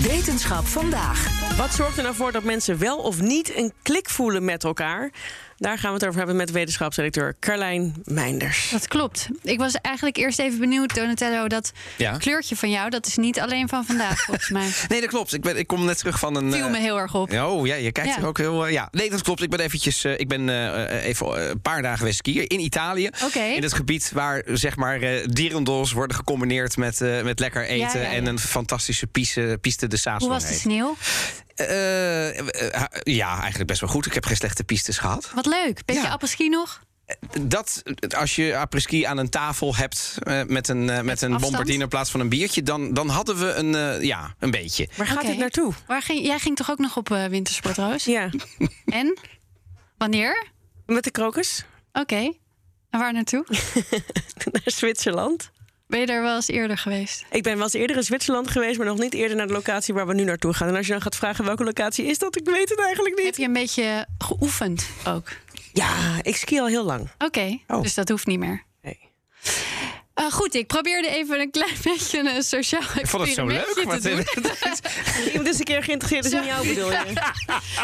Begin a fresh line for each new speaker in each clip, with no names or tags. Wetenschap vandaag.
Wat zorgt er nou voor dat mensen wel of niet een klik voelen met elkaar? Daar gaan we het over hebben met wetenschapsredacteur Carlijn Meinders.
Dat klopt. Ik was eigenlijk eerst even benieuwd, Donatello, dat
Ja.
kleurtje van jou, dat is niet alleen van vandaag, volgens mij.
Nee, dat klopt. Ik, ben, ik kom net terug van een.
Viel
eh,
me heel erg op.
Ja, Oh ja, je kijkt
Ja.
er ook heel. eh, ja, nee, dat klopt. Ik ben eventjes. eh, ik ben eh, eh, even eh, een paar dagen geweest skiën in Italië.
Oké.
In het gebied waar zeg maar eh dierendels worden gecombineerd met, eh, met lekker eten
ja, ja.
en een fantastische piste, piste de Saas.
Hoe
van
was de
heet.
sneeuw?
Eh, eh, eh, ja, eigenlijk best wel goed. Ik heb geen slechte pistes gehad.
Wat leuk. Beetje
Ja.
appelski nog?
Dat eh, als je apres-ski aan een tafel hebt eh, met een, eh, met een
afstand?
bombardine in plaats van een biertje, dan, dan hadden we een, eh, ja, een beetje.
Waar gaat
Oké.
dit naartoe?
Waar ging, jij ging toch ook nog op eh, wintersport, Roos?
Ja,
En? Wanneer?
met de krokus
Oké. En waar naartoe?
naar Zwitserland.
Ben je er wel eens eerder geweest?
Ik ben wel eens eerder in Zwitserland geweest, maar nog niet eerder naar de locatie waar we nu naartoe gaan. En als je dan gaat vragen welke locatie is dat, ik weet het eigenlijk
Heb
niet.
je een beetje geoefend ook?
Ja, ik ski al heel lang.
Oké,
Oh.
dus dat hoeft niet meer.
Nee.
Eh, goed, ik probeerde even een klein beetje een sociaal
Ik vond het zo leuk.
experimentje te
want-
doen.
Iemand is dus een keer geïnteresseerd is in jou, bedoel je?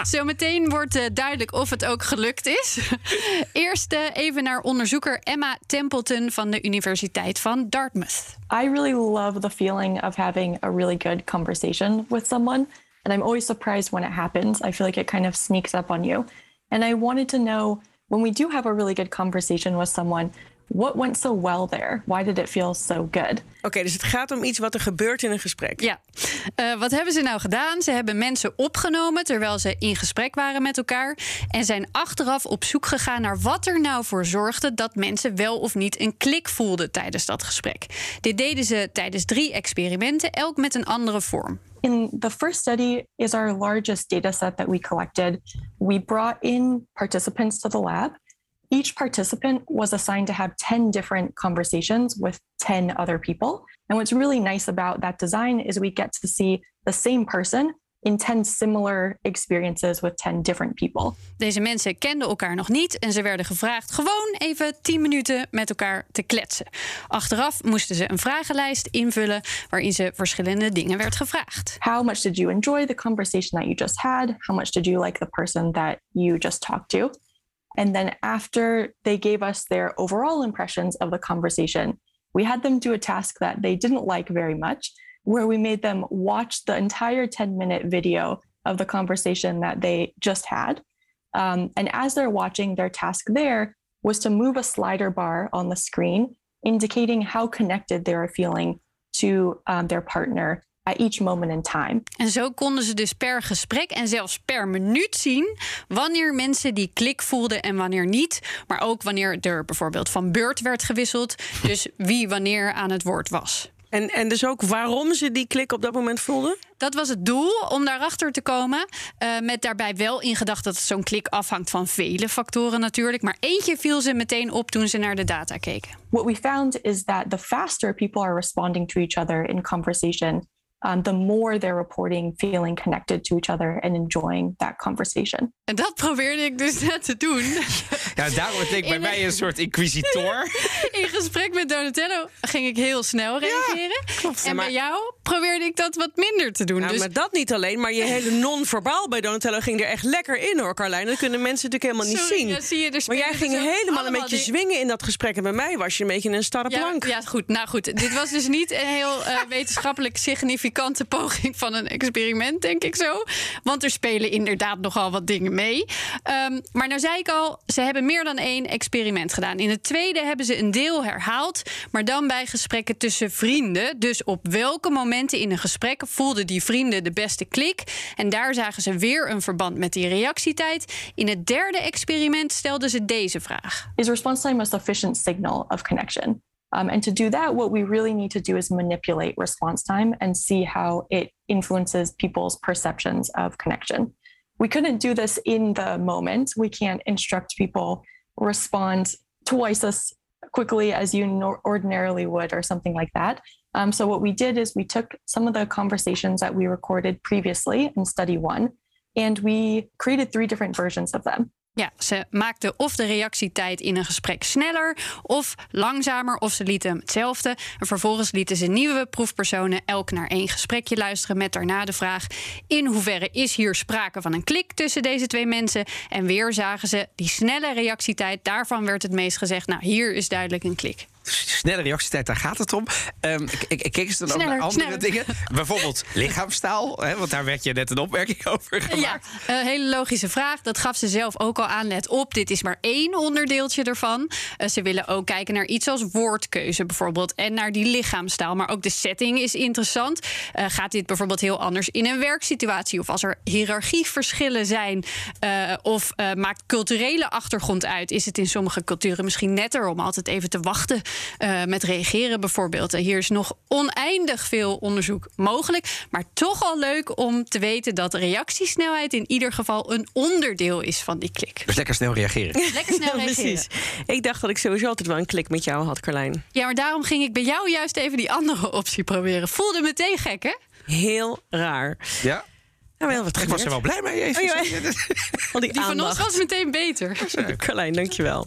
Zometeen wordt eh, duidelijk of het ook gelukt is. Eerst eh, even naar onderzoeker Emma Templeton van de Universiteit van Dartmouth.
I really love the feeling of having a really good conversation with someone. And I'm always surprised when it happens. I feel like it kind of sneaks up on you. And I wanted to know when we do have a really good conversation with someone, what went so well there? Why did it feel so good?
Oké, dus het gaat om iets wat er gebeurt in een gesprek.
Ja. Eh, wat hebben ze nou gedaan? Ze hebben mensen opgenomen terwijl ze in gesprek waren met elkaar. En zijn achteraf op zoek gegaan naar wat er nou voor zorgde dat mensen wel of niet een klik voelden tijdens dat gesprek. Dit deden ze tijdens drie experimenten, elk met een andere vorm.
In the first study is our largest data set that we collected. We brought in participants to the lab. Each participant was assigned to have 10 different conversations with 10 other people. And what's really nice about that design is we get to see the same person in 10 similar experiences with 10 different people.
Deze mensen kenden elkaar nog niet en ze werden gevraagd gewoon even 10 minuten met elkaar te kletsen. Achteraf moesten ze een vragenlijst invullen waarin ze verschillende dingen werd gevraagd.
How much did you enjoy the conversation that you just had? How much did you like the person that you just talked to? And then after they gave us their overall impressions of the conversation, we had them do a task that they didn't like very much, where we made them watch the entire 10 minute video of the conversation that they just had. Um, and as they're watching, their task there was to move a slider bar on the screen, indicating how connected they were feeling to um, their partner at each moment in time.
En zo konden ze dus per gesprek en zelfs per minuut zien wanneer mensen die klik voelden en wanneer niet. Maar ook wanneer er bijvoorbeeld van beurt werd gewisseld, dus wie wanneer aan het woord was.
En, en dus ook waarom ze die klik op dat moment voelden?
Dat was het doel, om daarachter te komen. Eh, met daarbij wel in gedachten dat zo'n klik afhangt van vele factoren natuurlijk. Maar eentje viel ze meteen op toen ze naar de data keken.
What we found is that the faster people are responding to each other in conversation, um, the more they're reporting feeling connected to each other and enjoying that conversation.
En dat probeerde ik dus net te doen.
Ja, daarom het leek bij
In-
mij een soort inquisitor.
In gesprek met Donatello ging ik heel snel reageren.
Ja,
En
maar-
bij jou probeerde ik dat wat minder te doen.
Nou,
dus
maar dat niet alleen, maar je hele non-verbaal bij Donatello ging er echt lekker in hoor, Carlijn. Dat kunnen mensen natuurlijk helemaal niet
Sorry,
zien.
dat zie je, er
maar jij
spelen
ging
dus ook
helemaal een
allemaal
beetje
die-
zwingen in dat gesprek. En bij mij was je een beetje een starre
ja,
plank.
ja, goed. Nou goed, dit was dus niet een heel eh, wetenschappelijk significante poging van een experiment, denk ik zo. Want er spelen inderdaad nogal wat dingen mee. Ehm, maar nou zei ik al, ze hebben meer dan één experiment gedaan. In het tweede hebben ze een deel herhaald, maar dan bij gesprekken tussen vrienden. Dus op welke momenten in een gesprek voelden die vrienden de beste klik? En daar zagen ze weer een verband met die reactietijd. In het derde experiment stelden ze deze vraag.
Is response time a sufficient signal of connection? Um, and to do that, what we really need to do is manipulate response time and see how it influences people's perceptions of connection. We couldn't do this in the moment. We can't instruct people respond twice as quickly as you nor- ordinarily would or something like that. Um, so what we did is we took some of the conversations that we recorded previously in study one, and we created three different versions of them.
Ja, ze maakten of de reactietijd in een gesprek sneller of langzamer, of ze lieten hem hetzelfde. En vervolgens lieten ze nieuwe proefpersonen elk naar één gesprekje luisteren met daarna de vraag: in hoeverre is hier sprake van een klik tussen deze twee mensen? En weer zagen ze die snelle reactietijd. Daarvan werd het meest gezegd: nou, hier is duidelijk een klik.
Snelle reactietijd, daar gaat het om. Ehm, ik, ik, ik keek ze dan ook
Sneller,
naar andere
sneller.
dingen. Bijvoorbeeld lichaamstaal, hè, want daar werd je net een opmerking over
Ja,
gemaakt.
een hele logische vraag. Dat gaf ze zelf ook al aan. Let op, dit is maar één onderdeeltje ervan. Eh, ze willen ook kijken naar iets als woordkeuze bijvoorbeeld. En naar die lichaamstaal. Maar ook de setting is interessant. Eh, gaat dit bijvoorbeeld heel anders in een werksituatie? Of als er hiërarchieverschillen zijn? eh, of eh, maakt culturele achtergrond uit? Is het in sommige culturen misschien netter om altijd even te wachten eh, met reageren bijvoorbeeld? En hier is nog oneindig veel onderzoek mogelijk. Maar toch al leuk om te weten dat reactiesnelheid in ieder geval een onderdeel is van die klik.
Dus lekker snel reageren.
Lekker snel
Ja,
reageren.
precies. Ik dacht dat ik sowieso altijd wel een klik met jou had, Carlijn.
Ja, maar daarom ging ik bij jou juist even die andere optie proberen. Voelde meteen gek, hè?
Heel raar.
Ja?
Nou, wel wat
Ik was er wel blij mee. Even.
Oh, ja.
zo.
Al die,
Die van ons
aandacht.
was meteen beter.
Carlijn, dankjewel.